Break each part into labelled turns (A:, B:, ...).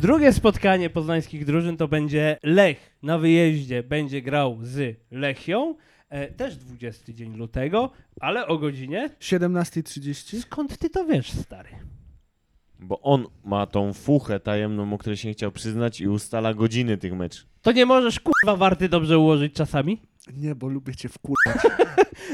A: Drugie spotkanie poznańskich drużyn to będzie Lech. Na wyjeździe będzie grał z Lechią. E, też 20 dzień lutego, ale o godzinie.
B: 17.30?
A: Skąd ty to wiesz, stary?
C: Bo on ma tą fuchę tajemną, o której się nie chciał przyznać i ustala godziny tych meczów.
A: To nie możesz kurwa warty dobrze ułożyć czasami?
B: Nie, bo lubię cię wkurwać.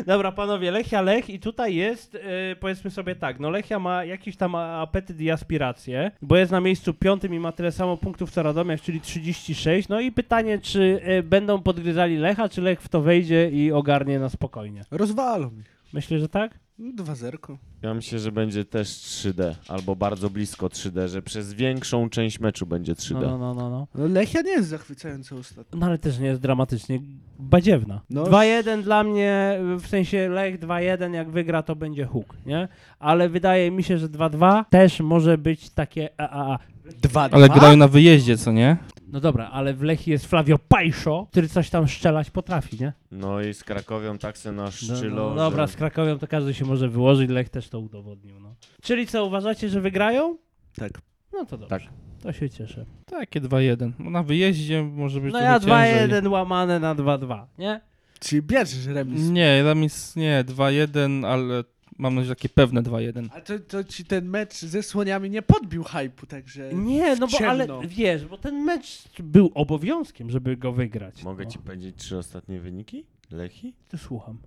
A: Dobra, panowie, Lechia Lech i tutaj jest, e, powiedzmy sobie tak, no Lechia ma jakiś tam apetyt i aspiracje, bo jest na miejscu piątym i ma tyle samo punktów co Radomiak, czyli 36, no i pytanie, czy e, będą podgryzali Lecha, czy Lech w to wejdzie i ogarnie na spokojnie.
B: Rozwalą ich.
A: Myślę, że tak?
B: No, Dwa zerko.
C: Ja myślę, że będzie też 3D, albo bardzo blisko 3D, że przez większą część meczu będzie
A: No,
C: 3D.
A: no, no, no. no.
B: No, Lechia nie jest zachwycająca ostatnio.
A: No ale też nie jest dramatycznie badziewna.
B: No.
A: 2-1 dla mnie, w sensie Lech 2-1, jak wygra to będzie huk, nie? Ale wydaje mi się, że 2-2 też może być takie a, a, a.
B: Dwa,
D: Ale grają na wyjeździe, co nie?
A: No dobra, ale w Lechii jest Flavio Pajszo, który coś tam szczelać potrafi, nie?
C: No i z Krakowią tak se
A: No,
C: naszczylo,
A: no, dobra,
C: że...
A: z Krakowią to każdy się może wyłożyć, Lech też to udowodnił, no. Czyli co, uważacie, że wygrają?
B: Tak.
A: No to dobrze.
C: Tak.
A: To się cieszę.
D: Takie 2-1. No na wyjeździe może być
A: No
D: trochę
A: ja
D: ciężej.
A: 2-1 łamane na 2-2, nie?
B: Czyli bierzesz remis.
D: Nie, remis nie, 2-1, ale mam nadzieję, że takie pewne 2-1.
B: A to, to ci ten mecz ze słoniami nie podbił hypu, także...
A: Nie, no
B: w
A: bo ale
B: ciemno.
A: wiesz, bo ten mecz był obowiązkiem, żeby go wygrać.
C: Mogę
A: no.
C: ci powiedzieć trzy ostatnie wyniki? Lechi?
A: Ty słucham.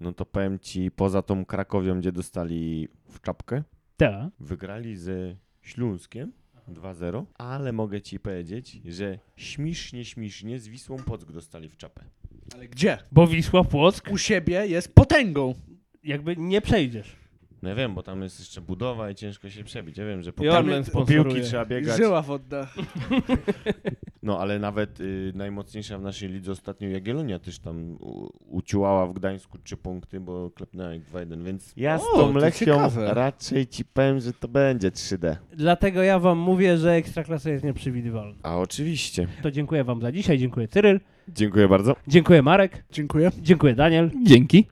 C: No to powiem ci, poza tą Krakowią, gdzie dostali w czapkę,
A: Tak.
C: wygrali ze Śląskiem 2-0, ale mogę ci powiedzieć, że śmisznie, śmisznie z Wisłą Płock dostali w czapę.
B: Ale gdzie?
A: Bo Wisła Płock
B: U siebie jest potęgą.
A: jakby nie przejdziesz.
C: No ja wiem, bo tam jest jeszcze budowa i ciężko się przebić. Ja wiem, że po,
A: I
C: piłki-
A: Orlen
C: po
A: sponsoruje.
C: piłki trzeba biegać.
B: Żyła wodna.
C: No ale nawet y, najmocniejsza w naszej lidze ostatnio Jagiellonia też tam u, uciułała w Gdańsku trzy punkty, bo klepnęła ich 2-1, więc ja z
B: O,
C: tą
B: to
C: Lechią
B: ciekawe.
C: raczej ci powiem, że to będzie 3D.
A: Dlatego ja wam mówię, że Ekstraklasa jest nieprzewidywalna.
C: A oczywiście.
A: To dziękuję wam za dzisiaj, dziękuję Cyryl,
C: Dziękuję bardzo.
A: dziękuję Marek,
B: Dziękuję.
A: dziękuję Daniel.
D: Dzięki.